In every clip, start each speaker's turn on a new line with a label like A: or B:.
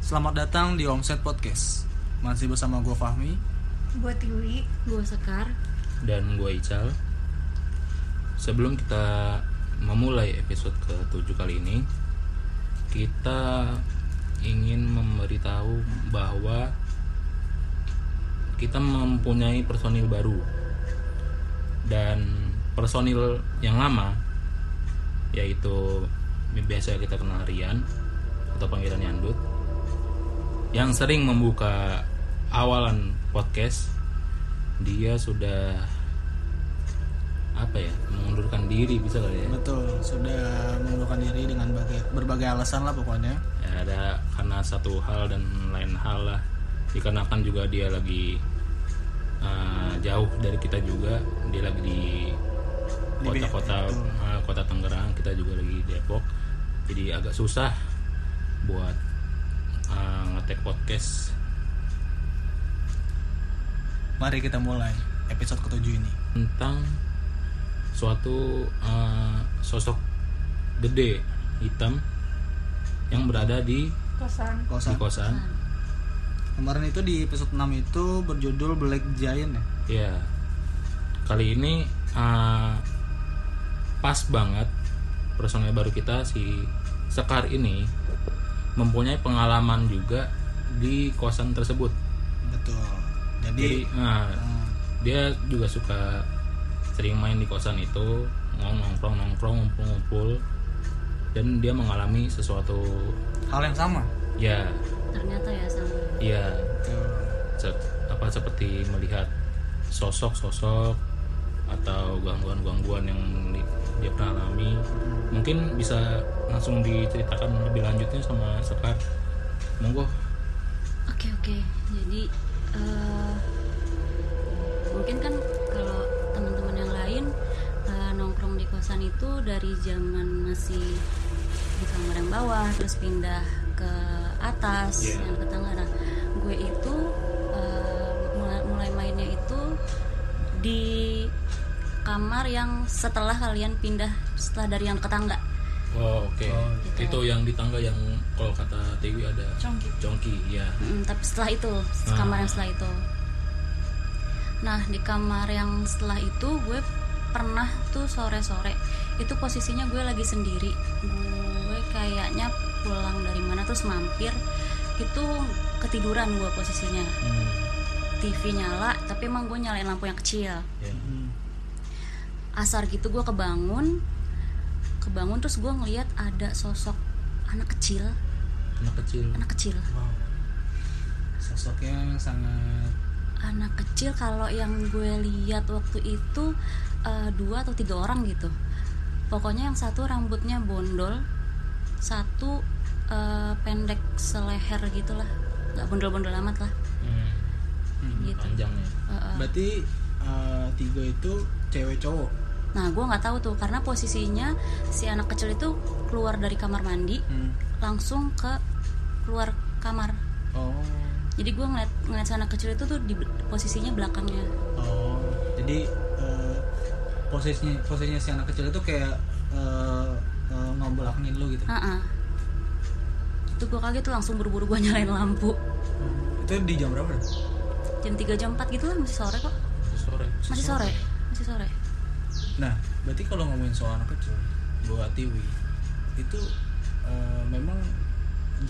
A: Selamat datang di Omset Podcast. Masih bersama gue Fahmi.
B: Gue Tiwi
C: Gue Sekar
D: dan gue Ical. Sebelum kita memulai episode ke-7 kali ini, kita ingin memberitahu bahwa kita mempunyai personil baru dan personil yang lama yaitu biasa kita kenal Rian atau panggilan Yandut yang sering membuka awalan podcast dia sudah apa ya mengundurkan diri bisa kali ya
A: Betul, sudah mengundurkan diri dengan bagai- berbagai alasan lah pokoknya.
D: Ya, ada karena satu hal dan lain hal lah dikarenakan juga dia lagi eh, jauh dari kita juga dia lagi di kota-kota eh, kota Tangerang kita juga lagi di Depok jadi agak susah buat eh, ngetek podcast
A: Mari kita mulai episode ke-7 ini.
D: tentang suatu eh, sosok gede hitam yang berada di,
B: kosan
D: di
A: Kosan.
D: kosan
A: Kemarin itu di episode 6 itu berjudul Black Giant ya.
D: Ya, kali ini uh, pas banget personel baru kita si Sekar ini mempunyai pengalaman juga di kosan tersebut.
A: Betul. Jadi,
D: Jadi uh,
A: eh,
D: dia juga suka sering main di kosan itu ngong- nongkrong nongkrong ngumpul ngumpul dan dia mengalami sesuatu
A: hal yang sama.
D: ya
C: Ternyata ya sama
D: ya
A: Betul.
D: se- apa seperti melihat sosok-sosok atau gangguan-gangguan yang di- dia pernah alami mungkin bisa langsung diceritakan lebih lanjutnya sama Sekar monggo
C: Oke oke Jadi eh, Mungkin kan kalau teman-teman yang lain eh, Nongkrong di kosan itu dari zaman masih di kamar yang bawah Terus pindah ke atas
D: Iya.
C: yang ke tangga Nah gue itu eh, mulai, mulai mainnya itu di kamar yang setelah kalian pindah setelah dari yang ke tangga
D: oh, oke
C: gitu.
D: itu yang di tangga yang kalau kata Dewi ada
B: Congki
D: congki ya
C: Mm, tapi setelah itu kamar yang setelah itu nah di kamar yang setelah itu gue pernah tuh sore-sore itu posisinya gue lagi sendiri gue kayaknya pulang dari mana terus mampir itu ketiduran gue posisinya
D: Hmm,
C: TV nyala tapi emang gue nyalain lampu yang kecil
D: ya.
A: Hmm.
C: asar gitu gue kebangun kebangun terus gue ngeliat ada sosok anak kecil
D: anak kecil
C: anak kecil
A: Wow. Sosoknya yang sangat
C: anak kecil kalau yang gue lihat waktu itu eh, dua atau tiga orang gitu pokoknya yang satu rambutnya bondol satu eh, pendek seleher gitulah nggak bondol-bondol amat lah
D: Hmm,
C: gitu
D: panjang ya
C: Eh,
A: Hmm.
C: eh.
A: berarti eh, tiga itu cewek cowok.
C: nah gue nggak tahu tuh karena posisinya si anak kecil itu keluar dari kamar mandi
A: Hmm.
C: langsung ke keluar kamar
A: Oh.
C: jadi gue ngeliat ngeliat si anak kecil itu tuh di bel- posisinya belakangnya
A: Oh, jadi eh, posisinya posisinya si anak kecil itu kayak eh eh, ngebelakangin lu gitu.
C: Heeh. itu gue kaget tuh langsung buru-buru gue nyalain lampu
A: Itu di jam berapa? Ren?
C: jam 3 jam 4 gitu lah masih sore kok
D: sore
C: masih sore masih sore
A: Nah, berarti kalau ngomongin soal anak kecil, gua Tiwi itu eh, memang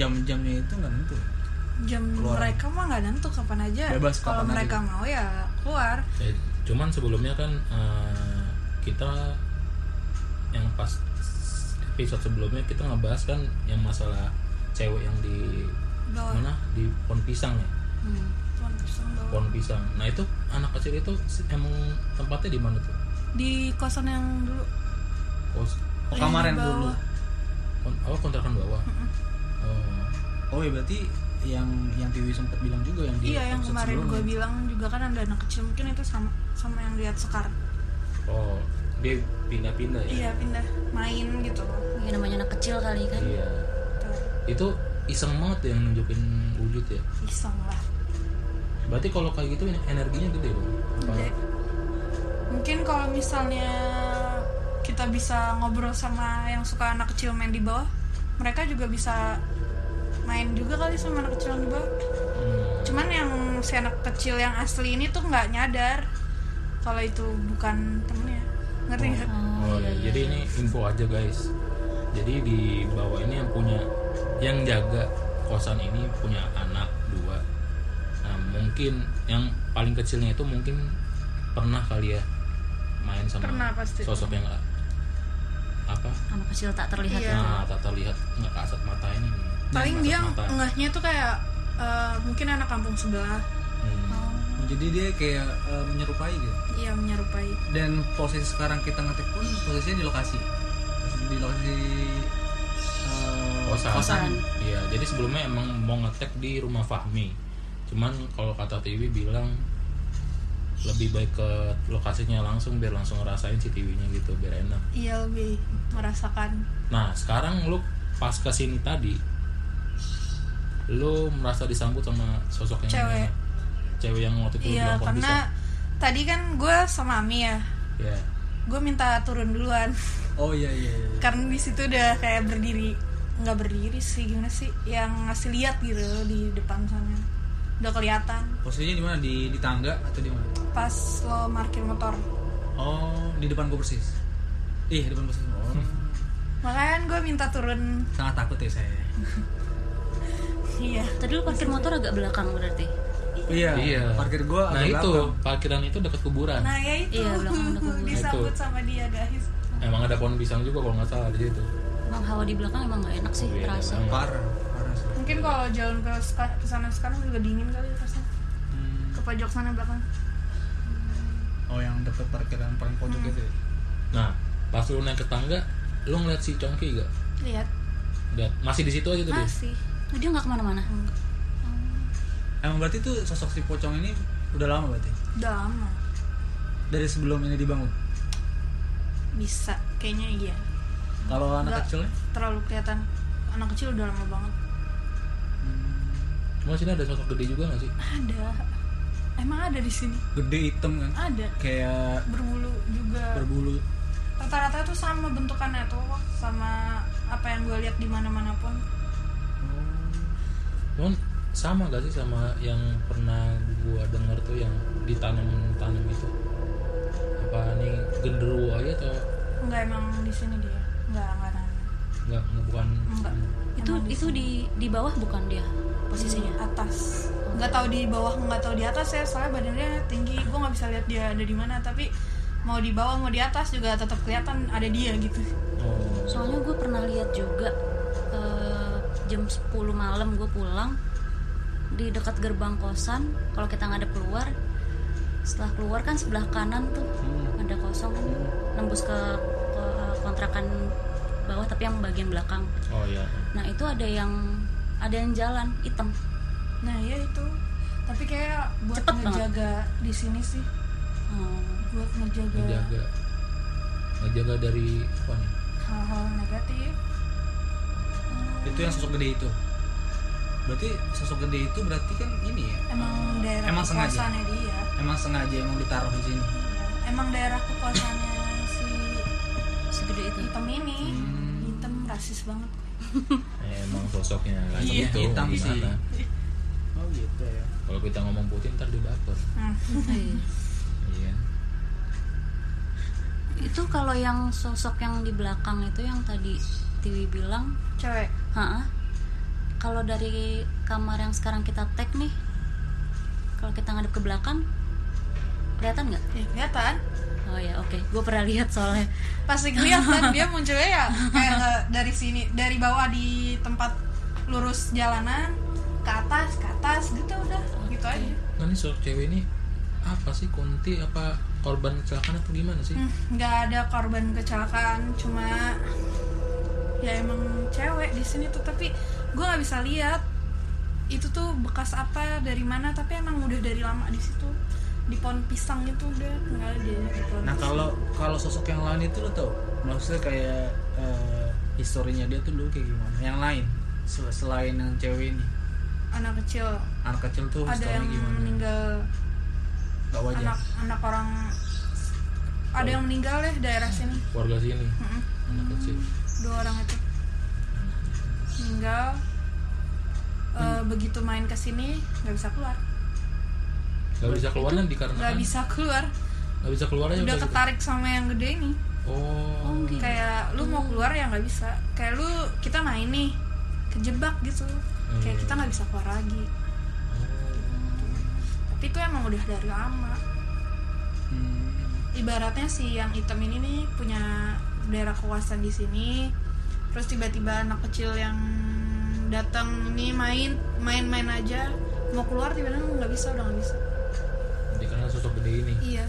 A: jam-jamnya itu nggak nentu.
B: jam
A: Keluar.
B: mereka mah nggak nentu kapan aja
A: Bebas
B: kalau
A: kapan
B: mereka
A: aja.
B: mau ya keluar
D: Eh, cuman sebelumnya kan eh, kita yang pas episode sebelumnya kita ngebahas kan yang masalah cewek yang di
B: bawah
D: mana di pohon pisang ya
C: hmm.
B: cuman kosong bawah
D: pohon pisang nah itu anak kecil itu si- emang tempatnya di mana tuh
B: di kosan yang dulu
D: kos
A: Oh,
B: Yang
A: kamar yang
B: di
A: dulu.
B: bawah.
D: kon, oh, kontrakan bawah oh
A: Oh, ya berarti yang yang Tiwi sempat bilang juga yang di
B: iya yang
A: episode
B: kemarin gue
A: sebelumnya.
B: bilang juga kan ada anak kecil mungkin itu sama sama yang lihat sekar
D: oh dia pindah-pindah ya
B: iya pindah main gitu loh
C: ya namanya anak kecil kali kan
D: Iya.
B: Tuh,
D: itu iseng banget tuh yang nunjukin wujud ya
B: iseng lah
D: berarti kalau kayak gitu energinya gede dong
A: Oh.
D: Apa-
B: Jadi, mungkin kalau misalnya kita bisa ngobrol sama yang suka anak kecil main di bawah mereka juga bisa main juga kali sama anak kecil yang di bawah
D: Hmm.
B: cuman yang si anak kecil yang asli ini tuh nggak nyadar kalau itu bukan temennya ngerti nggak
D: Oh,
C: iya,
D: ya, jadi ini info aja guys. Jadi di bawah ini yang punya yang jaga kosan ini punya anak dua. Nah, mungkin yang paling kecilnya itu mungkin pernah kali ya main sama
B: Pernah, pasti.
D: sosok yang apa?
C: anak kecil tak terlihat ya.
B: Iya.
D: Nah, tak terlihat nggak kasat mata ini.
B: paling
D: Kasat
B: dia
D: mata.
B: enggaknya tuh kayak eh, mungkin anak kampung sebelah
D: Hmm.
A: Oh, jadi dia kayak eh, menyerupai gitu
B: yang iya, menyerupai
A: dan posisi sekarang kita ngetik pun posisinya di lokasi di lokasi eh,
D: kosan.
A: kosan.
D: Iya, jadi sebelumnya emang mau ngetek di rumah Fahmi. Cuman kalau kata TV bilang lebih baik ke lokasinya langsung biar langsung ngerasain si TV-nya gitu biar enak.
B: iya lebih merasakan
D: Nah, sekarang lu pas ke sini tadi lu merasa disambut sama sosok yang
B: Cewek.
D: mana? Cewek yang waktu itu lu
B: iya
D: bilang kok
B: karena tadi kan gue sama Ami ya
D: bisa. Iya.
B: gue minta turun duluan
A: oh iya iya, iya.
B: karena di situ udah kayak berdiri nggak berdiri sih gimana sih yang ngasih lihat gitu di depan sana udah kelihatan
A: posisinya di mana di di tangga atau di mana
B: pas lo parkir motor
A: oh di depan gua persis ih depan persis oh
B: makanya kan gue minta turun
A: sangat takut ya saya
B: iya
C: tadi lu parkir motor agak belakang berarti
A: iya,
D: Iya.
A: parkir gua
D: Nah,
A: agak
D: itu
A: belakang.
D: parkiran itu dekat kuburan.
B: nah ya itu
C: Iya, belakang udah kebun.
B: disambut sama dia guys
D: Emang ada pohon pisang juga kalau nggak salah di situ.
C: emang hawa di belakang emang nggak enak sih
D: Iya,
C: terasa
D: emang.
A: parah parah sih
B: mungkin kalau jalan ke seka- ke sana sekarang juga dingin kali pasnya
A: Hmm.
B: ke pojok sana belakang
A: oh yang dekat parkiran paling pojok itu ya?
D: Nah, pas lu naik ke tangga, lu ngeliat si Congki gak?
B: lihat
D: Udah, masih di situ aja tuh dia.
B: masih
C: Oh, dia nggak kemana-mana
A: emang berarti tuh sosok si pocong ini udah lama berarti
B: udah lama
A: dari sebelum ini dibangun
B: bisa kayaknya iya
A: kalau anak
B: Nggak.
A: kecilnya
B: terlalu kelihatan anak kecil udah lama banget
D: Cuma sini ada sosok gede juga gak sih?
B: ada emang ada di sini
A: gede hitam kan
B: ada
A: kayak
B: berbulu juga
A: berbulu
B: rata-rata tuh sama bentukannya tuh sama apa yang gue lihat di mana-mana pun
D: Cuman sama gak sih sama yang pernah gua denger tuh yang ditanam-tanam itu? Apa nih genderuwo aja atau
B: nggak emang di sini dia nggak nggak ada.
D: nggak nggak- bukan?
B: Nggak.
C: itu
B: Emang
C: itu di di bawah bukan dia posisinya
B: atas nggak tahu di bawah nggak tahu di atas ya soalnya badannya tinggi gue nggak bisa lihat dia ada di mana tapi mau di bawah mau di atas juga tetap kelihatan ada dia gitu
D: Oh,
C: soalnya gue pernah lihat juga eh, jam 10 malam gue pulang di dekat gerbang kosan kalau kita ngadep keluar setelah keluar kan sebelah kanan tuh
A: Hmm.
C: ada kosong kan, nembus ke, ke kontrakan bawah tapi yang bagian belakang
D: oh iya.
C: nah itu ada yang ada yang jalan hitam
B: nah ya itu tapi kayak buat
C: Cepet banget.
B: ngejaga di sini sih
C: Hmm,
B: buat ngejaga
D: Ngejaga ngejaga dari apa nih?
B: hal-hal negatif Hmm,
A: itu yang sosok gede itu berarti sosok gede itu berarti kan ini ya
B: emang
A: eh,
B: daerah ya?
A: emang sengaja
B: kekuasaannya dia
A: emang sengaja emang ditaruh di sini
B: Iya. emang daerah kekuasaannya si
C: segede itu
B: hitam ini
A: Hmm.
B: hitam rasis banget
D: Emang sosoknya nggak
A: Iya,
D: gitu,
A: hitam
D: gimana?
A: sih. oh gitu ya
D: Kalau kita ngomong putih ntar dia baper.
B: Hmm.
C: Iya.
D: Iya.
C: itu kalau yang sosok yang di belakang itu yang tadi Tiwi bilang
B: cewek
C: Hah? Kalau dari kamar yang sekarang kita tag nih, kalau kita ngadep ke belakang, kelihatan nggak?
B: ya kelihatan
C: Oh ya, oke. Gue pernah lihat soalnya.
B: pasti kelihatan dia munculnya ya kayak nggak dari sini dari bawah di tempat lurus jalanan ke atas ke atas gitu udah gitu aja
D: Nah ini sosok cewek ini apa sih kunti apa korban kecelakaan atau gimana sih?
B: Hmm, nggak ada korban kecelakaan cuma ya emang cewek di sini tuh tapi gue nggak bisa lihat itu tuh bekas apa dari mana tapi emang udah dari lama di situ di pohon pisang itu udah nggak ada dia di pohon
A: nah
B: pisang.
A: kalau kalau sosok yang lain itu lo tau maksudnya kayak eh, historinya dia tuh dulu kayak gimana yang lain sel- selain yang cewek ini
B: anak kecil
A: anak kecil tuh
B: ada
A: historinya
B: yang
A: Oh, gimana
B: meninggal
A: gak wajar
B: anak anak orang ada yang meninggal deh daerah sini
D: Warga sini
B: Mm-mm.
D: anak kecil.
B: dua orang itu meninggal eh, begitu main ke sini nggak bisa keluar
D: nggak bisa keluar kan dikarenakan
B: nggak bisa keluar
D: nggak bisa keluar aja
B: udah
D: gitu.
B: ketarik sama yang gede ini
D: oh
C: Oh, gitu.
B: kayak lu mau keluar ya nggak bisa kayak lu kita main nih kejebak gitu kayak kita nggak bisa keluar lagi tapi itu emang udah dari lama
A: Hmm.
B: ibaratnya si yang hitam ini nih punya daerah kekuasaan di sini terus tiba-tiba anak kecil yang datang ini main main-main aja mau keluar tiba-tiba nggak bisa udah nggak bisa
D: dikarenakan sosok gede ini
B: iya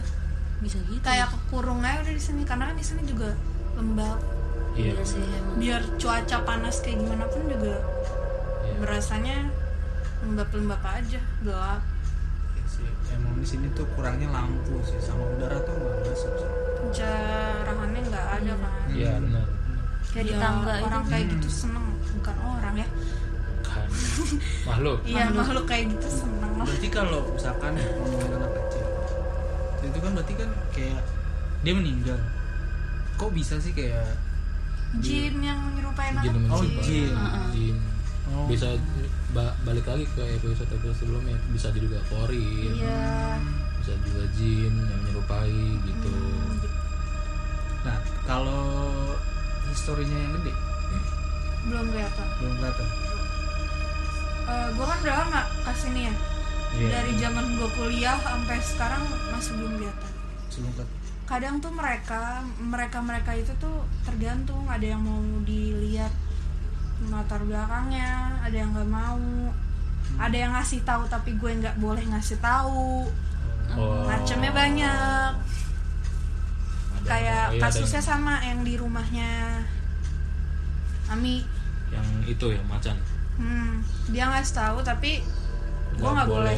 C: bisa gitu
B: kayak kekurung aja udah di sini karena kan di sini juga lembab
D: iya
C: Iya sih emang
B: biar cuaca panas kayak gimana pun juga
D: iya.
B: berasanya lembab-lembab aja gelap
A: Iya sih. Emang di sini tuh kurangnya lampu sih sama udara tuh nggak masuk. sih. Hmm.
B: jarahannya nggak ada kan
D: iya benar
C: kayak di
B: Ya,
C: tangga itu
B: orang kayak gitu seneng bukan orang ya
D: kan makhluk
B: iya makhluk kayak gitu seneng lah
A: Nah, Berarti kalau misalkan ngomongin anak kecil, itu kan berarti kan kayak dia meninggal. Kok bisa sih kayak
B: jin yang menyerupai anak
D: jin
B: kecil
A: Oh, jin.
D: jin
A: Oh.
D: bisa ba- balik lagi ke episode episode sebelumnya bisa juga korin
B: iya
D: bisa juga jin yang menyerupai gitu
B: Hmm.
A: Nah, kalau historinya yang gede
B: belum kelihatan
A: belum kelihatan.
B: Eh gue kan udah lama kesini ya
A: Iya.
B: dari zaman gue kuliah sampai sekarang masih belum kelihatan
A: Sebelum kelihatan.
B: kadang tuh mereka mereka mereka itu tuh tergantung ada yang mau dilihat latar belakangnya ada yang nggak mau ada yang ngasih tahu tapi gue nggak boleh ngasih tahu
D: oh
B: macamnya banyak
D: ada-
B: kayak
D: oh, iya, ada
B: kasusnya sama yang di rumahnya Ami
D: yang, yang itu ya macan
B: hmm, dia ngasih tahu tapi gue
D: Nggak
B: nggak boleh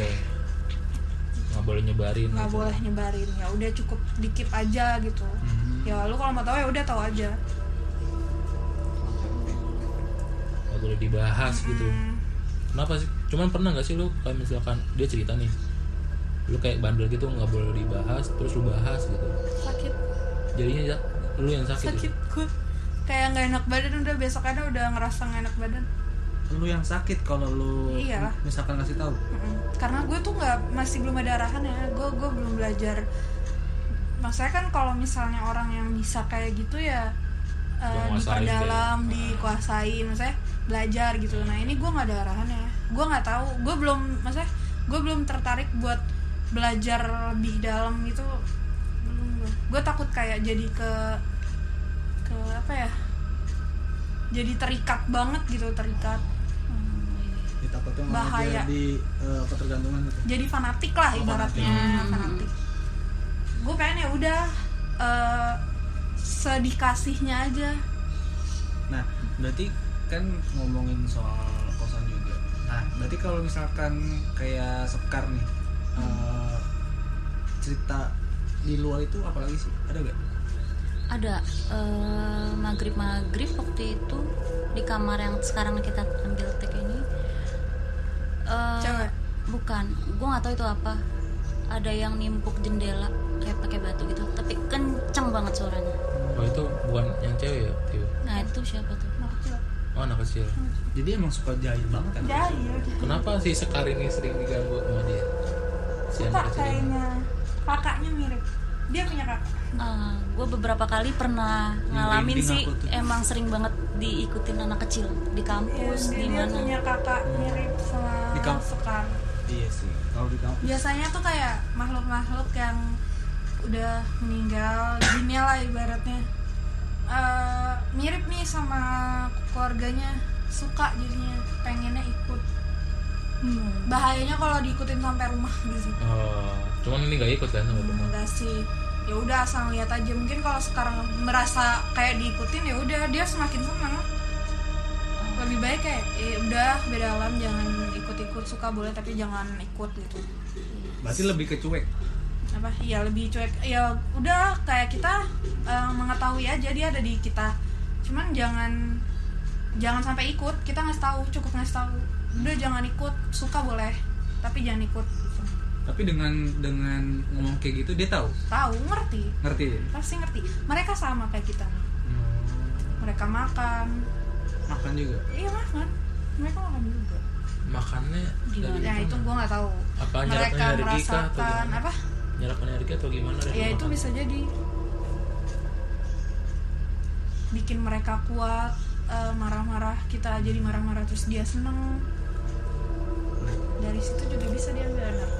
D: nggak boleh nyebarin
B: nggak
D: gitu.
B: boleh nyebarin ya udah cukup dikit aja gitu
A: Hmm.
B: ya lu kalau mau tahu ya udah tahu aja
D: nggak boleh dibahas gitu
B: Hmm,
D: kenapa sih cuman pernah nggak sih lu kayak misalkan dia cerita nih lu kayak bandel gitu nggak boleh dibahas terus lu bahas gitu
B: sakit
D: jadinya ya- lu yang sakit,
B: sakit
D: gitu.
B: gue kayak nggak enak badan udah besoknya ada udah ngerasa nggak enak badan
A: Lu yang sakit kalau lu
B: Iya.
A: misalkan ngasih tahu.
B: Mm-mm. karena gue tuh nggak masih belum ada arahan ya gue gue belum belajar maksudnya kan kalau misalnya orang yang bisa kayak gitu ya eh,
D: Menguasai
B: diperdalam
D: gitu ya.
B: dikuasain maksudnya belajar gitu nah ini gue nggak ada arahannya gue nggak tahu gue belum maksudnya gue belum tertarik buat belajar lebih dalam gitu belum gue gue takut kayak jadi ke ke apa ya jadi terikat banget gitu terikat
A: Ya, takutnya malah
B: Bahaya.
A: jadi eh, ketergantungan gitu.
B: jadi fanatik lah
A: Oh,
B: ibaratnya
C: fanatik.
B: fanatik gue pengen ya udah eh, sedikasihnya aja
A: Nah, berarti kan ngomongin soal kosan juga. Nah, berarti kalau misalkan kayak Sekar nih,
B: Hmm.
A: eh, cerita di luar itu apalagi sih? Ada gak?
C: ada eh, maghrib maghrib waktu itu di kamar yang sekarang kita ambil tek ini eh,
B: Cewek?
C: bukan gue nggak tahu itu apa ada yang nimpuk jendela kayak pakai batu gitu tapi kenceng banget suaranya
D: oh itu bukan yang cewek ya Tio?
C: nah itu siapa tuh
B: anak kecil
D: oh anak kecil
A: Jadi emang suka jahil banget kan?
B: jahil
D: kenapa sih sekar ini sering diganggu sama dia si
B: pak
D: anak kecil ini.
B: kayaknya kakaknya mirip dia punya kakak
C: gue Eh, beberapa kali pernah ngalamin
A: Merinding
C: sih
A: aku tuh.
C: emang sering banget diikutin anak kecil di
B: Iya,
C: kampus
B: dia,
C: di
B: dia
C: mana
B: punya kakak mirip sama
A: Di kampus.
B: Sekar.
A: Iya sih. Kalau di kampus.
B: biasanya tuh kayak makhluk-makhluk yang udah meninggal jinnya lah ibaratnya Eh, mirip nih sama keluarganya suka jadinya pengennya ikut
C: Hmm.
B: bahayanya kalau diikutin sampai rumah gitu
D: oh cuman ini nggak ikut kan sama rumah
B: enggak sih ya udah asal lihat aja mungkin kalau sekarang merasa kayak diikutin ya udah dia semakin senang lebih baik kayak "Eh, udah beda alam jangan ikut-ikut suka boleh tapi jangan ikut gitu
A: Berarti lebih ke cuek.
B: apa ya lebih cuek ya udah kayak kita eh, mengetahui aja dia ada di kita cuman jangan jangan sampai ikut kita ngasih tahu cukup ngasih tahu udah jangan ikut suka boleh tapi jangan ikut gitu.
A: Tapi dengan dengan ngomong kayak gitu dia tahu,
B: tahu ngerti
A: ngerti. dia?
B: pasti ngerti mereka sama kayak kita nih. mereka makan
A: Makan juga.
B: iya makan mereka makan juga
E: makannya
C: Gimana?
E: dari
B: ya itu gue nggak tahu
E: apa nyerap
B: mereka
E: energi kah atau
B: merasakan
E: gimana?
B: apa
E: nyerap energi atau gimana dari
B: ya itu
E: makan?
B: bisa jadi bikin mereka kuat eh, marah-marah kita jadi marah-marah terus dia seneng dari situ juga bisa diambil anak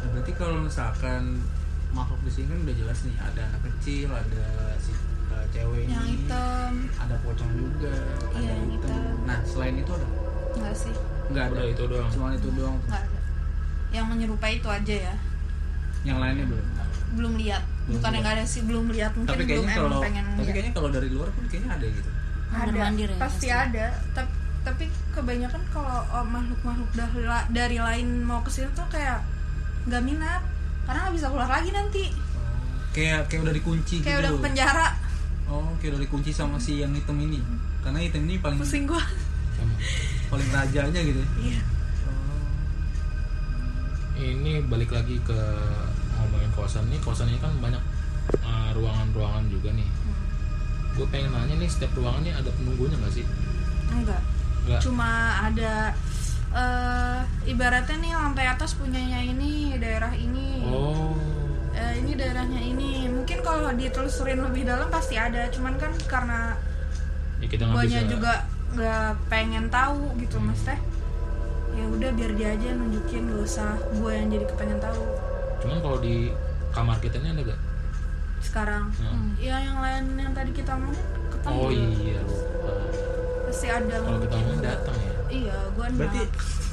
A: Nah, berarti kalau misalkan makhluk di sini kan udah jelas nih ada anak kecil, ada si eh, cewek
B: yang
A: ini,
B: hitam
A: ada pocong juga, ada
B: Iya, yang
A: yang hitam.
B: hitam.
A: Nah selain itu ada?
B: enggak sih
A: Nggak ada.
D: udah itu doang
A: Cuma itu doang.
B: enggak ada yang menyerupai itu aja ya
A: Yang lainnya belum.
B: belum lihat
A: Belum
B: bukan yang
A: lihat.
B: nggak ada sih belum lihat mungkin
A: tapi
B: belum
A: kayaknya
B: emang
A: kalau
B: pengen
A: tapi
B: lihat.
A: kayaknya kalau dari luar pun kayaknya ada gitu.
C: Mondar mandir ya
B: pasti ada tapi tapi kebanyakan kalau oh, makhluk-makhluk dah- dari lain mau kesini tuh kayak nggak minat karena nggak bisa keluar lagi nanti
A: Oh, Kayak kayak udah dikunci
B: kayak
A: gitu.
B: udah ke penjara
A: Oh, kayak udah dikunci sama si yang hitam ini. Karena hitam ini paling
B: pusing gua
E: Sama.
A: paling rajanya gitu. ya. Oh.
B: iya
D: ini balik lagi ke ngomongin kosan nih kosan ini kan banyak eh, ruangan-ruangan juga nih
B: Hmm.
D: gue pengen nanya nih setiap ruangannya ada penunggunya nggak sih
B: enggak
D: nggak
B: cuma ada eh ibaratnya nih lantai atas punyanya ini daerah ini
D: oh
B: Eh, ini daerahnya ini mungkin kalau ditelusurin lebih dalam pasti ada cuman kan karena
D: ya kita nggak
B: guanya
D: bisa
B: juga nggak pengen tahu gitu mas teh ya udah biar dia aja nunjukin gak usah gue yang jadi kepengen tahu
D: cuman kalau di kamar kita ini ada nggak
B: sekarang
D: Nah.
B: ya yang lain yang tadi kita mau ketemu
D: oh iya lupa
B: pasti ada
D: kalau kita
B: mungkin.
D: mau datang ya
B: iya gue
A: Berarti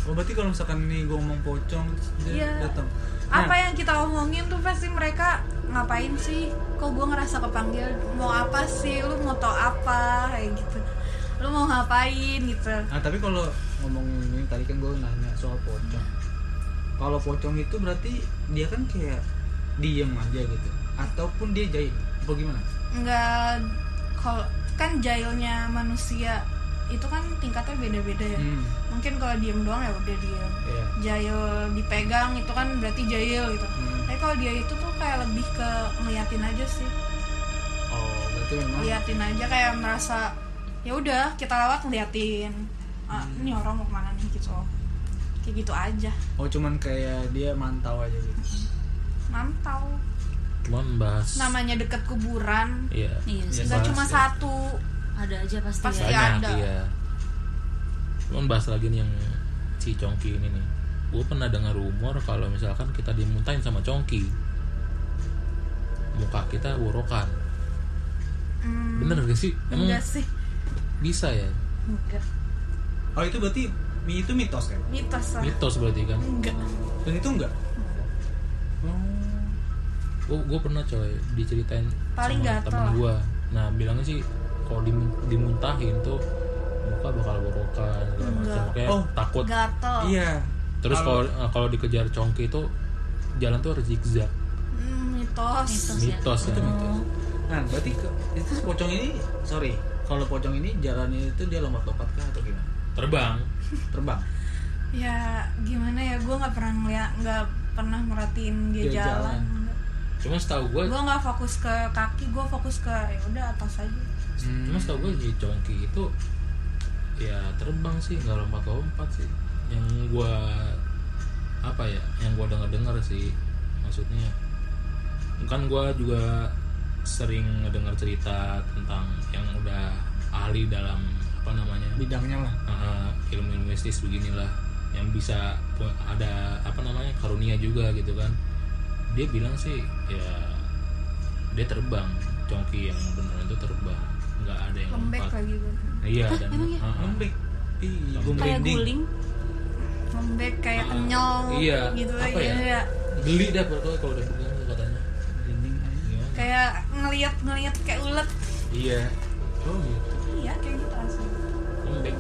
A: oh berarti kalau misalkan nih gue ngomong pocong terus dia
B: Iya.
A: datang.
B: apa yang kita omongin tuh pasti mereka ngapain sih kok gue ngerasa kepanggil mau apa sih lu mau tau apa kayak gitu lu mau ngapain gitu
A: Nah, tapi kalau ngomong ini tadi kan gue nanya soal pocong. Kalau pocong itu berarti dia kan kayak diem aja gitu ataupun dia jahil apa gimana?
B: nggak kalau kan jailnya manusia itu kan tingkatnya beda-beda ya
A: Hmm,
B: mungkin kalau diem doang ya udah diem
A: iya.
B: jail dipegang itu kan berarti jail gitu
A: Hmm.
B: tapi kalau dia itu tuh kayak lebih ke ngeliatin aja sih
A: Oh, berarti memang
B: ngeliatin aja kayak merasa ya udah kita lewat ngeliatin ah, ini orang mau kemana nih gitu kayak gitu aja
A: oh cuman kayak dia mantau aja gitu.
B: mantau
D: cuman bahas
B: namanya deket kuburan
D: iya
C: iya sih.
B: nggak cuma
D: bahas-
B: satu
C: ada aja pasti,
B: Pasti
C: ya.
B: ada.
D: banyak iya cuman bahas lagi nih yang si Congki ini nih gue pernah dengar rumor kalau misalkan kita dimuntahin sama Congki muka kita borokan
B: Hmm,
D: bener gak sih emang
B: enggak sih
D: bisa ya
B: enggak
A: Oh, itu berarti mi- itu mitos kan?
B: mitos lah
D: mitos berarti kan
B: enggak
A: Dan itu enggak? Oh.
D: gue gue pernah coy diceritain
B: Paling
D: sama
B: gatel
D: temen
B: lah.
D: gue nah bilangnya sih kalau dimun- dimuntahin tuh muka bakal borokan segala macam
B: Enggak.
D: kayak
A: Oh.
D: takut
B: gatel
A: Iya.
D: terus kalau eh,
A: Kalau-
D: kalau dikejar Congki itu jalan tuh harus zigzag
B: Hmm, mitos
C: mitos,
D: mitos
C: ya,
D: ya.
C: Oh,
A: Nah, berarti ke, itu si pocong ini sorry, kalau pocong ini jalannya itu dia lompat-lompat kah atau gimana?
D: terbang
A: Terbang.
B: ya gimana ya gue nggak pernah ngeliat nggak pernah merhatiin dia,
A: Dia
B: jalan,
A: jalan.
D: cuma setahu gue
B: gue nggak fokus ke kaki gue fokus ke ya udah atas aja
D: cuma setahu gue si congki itu ya terbang sih nggak lompat lompat sih yang gue apa ya yang gue dengar dengar sih maksudnya kan gue juga sering ngedengar cerita tentang yang udah ahli dalam apa namanya
A: Bidangnya lah.
D: eh, ilmu-ilmu mistis beginilah yang bisa pu- ada apa namanya karunia juga gitu kan dia bilang sih ya dia terbang congki yang beneran itu terbang nggak ada yang
B: lembek
D: lompat
B: lagi gue
D: iya dan
C: emang ya?
D: Ah, ah.
A: Lembek. Ih,
D: Lembek.
A: gue
C: kayak
A: merinding.
C: guling
B: lembek kayak
D: Ah,
B: kenyal
D: iya.
B: gitu
D: Apa
B: ya?
D: ya? geli dah pokoknya kalau udah pegang tuh katanya
A: Merinding aja.
D: Gimana?
B: kayak ngeliat ngeliat kayak ulet
D: iya oh gitu
B: iya kayak gitu asli
D: lembek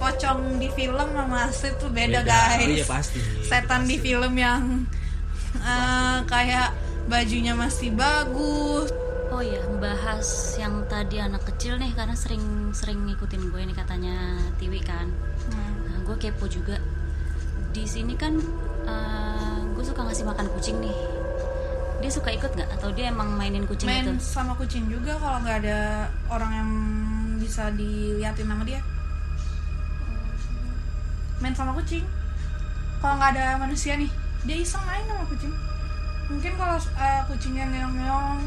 B: pocong di film sama asli tuh beda,
D: Beda.
B: guys
A: Oh, iya pasti.
B: setan di film yang eh, kayak bajunya masih bagus
C: Oh ya, bahas yang tadi anak kecil nih karena sering-sering ngikutin gue nih katanya Tiwi kan.
B: Hmm,
C: Nah, gue kepo juga. Di sini kan eh, gue suka ngasih makan kucing nih. Dia suka ikut nggak? Atau dia emang mainin kucing
B: main
C: gitu?
B: sama kucing juga kalau nggak ada orang yang bisa diliatin sama dia main sama kucing kalau nggak ada manusia nih dia iseng main sama kucing mungkin kalau eh, kucingnya ngeong ngeong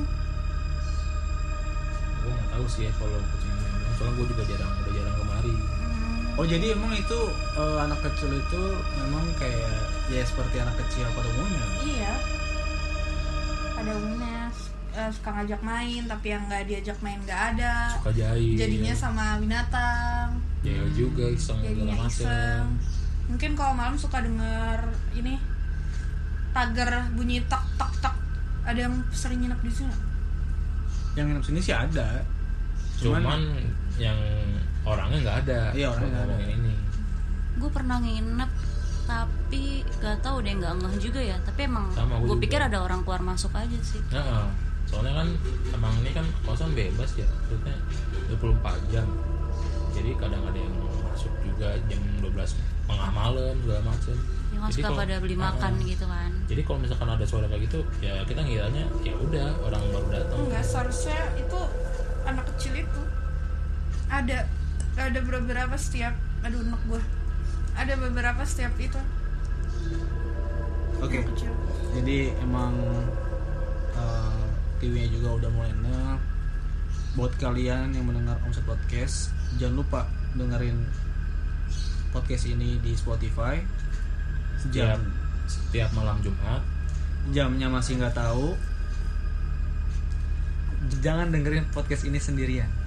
D: gue nggak tahu sih ya kalau kucing yang soalnya gue juga jarang udah jarang kemari
C: Hmm.
A: Oh jadi emang itu eh, anak kecil itu memang kayak ya seperti anak kecil pada umumnya.
B: iya pada umumnya eh, suka ngajak main tapi yang nggak diajak main nggak ada
D: suka jahil
B: jadinya sama binatang
D: jahil juga iseng segala
B: jadinya
D: macam
B: iseng mungkin kalau malam suka denger ini tagar bunyi tak tak tak ada yang sering nginep di sini
A: Yang nginep sini sih ada.
D: cuman, yang orangnya nggak ada
A: Iya, orangnya nggak ada.
D: ngomongin ini
C: gue pernah nginep tapi gak tahu deh nggak ngeh juga ya tapi emang
D: Sama, gua
C: gue
D: juga.
C: pikir ada orang keluar masuk aja sih
D: Nah, soalnya kan emang ini kan kosan bebas ya, maksudnya 24 jam. Jadi kadang ada yang masuk juga jam 12 tengah malam segala macam.
C: yang kan suka pada
D: Ah,
C: beli makan gitu kan
D: Jadi kalau misalkan ada suara kayak gitu, ya kita ngiranya ya udah orang baru datang.
B: enggak seharusnya itu anak kecil itu ada ada beberapa setiap aduh enak gua ada beberapa setiap itu
A: Oke.
B: anak kecil
A: Jadi emang eh, TV-nya juga udah mulai enak. Buat kalian yang mendengar Omset Podcast, jangan lupa dengerin podcast ini di Spotify.
D: Setiap
A: Jam
D: setiap malam Jumat
A: jamnya masih nggak tahu. Jangan dengerin podcast ini sendirian.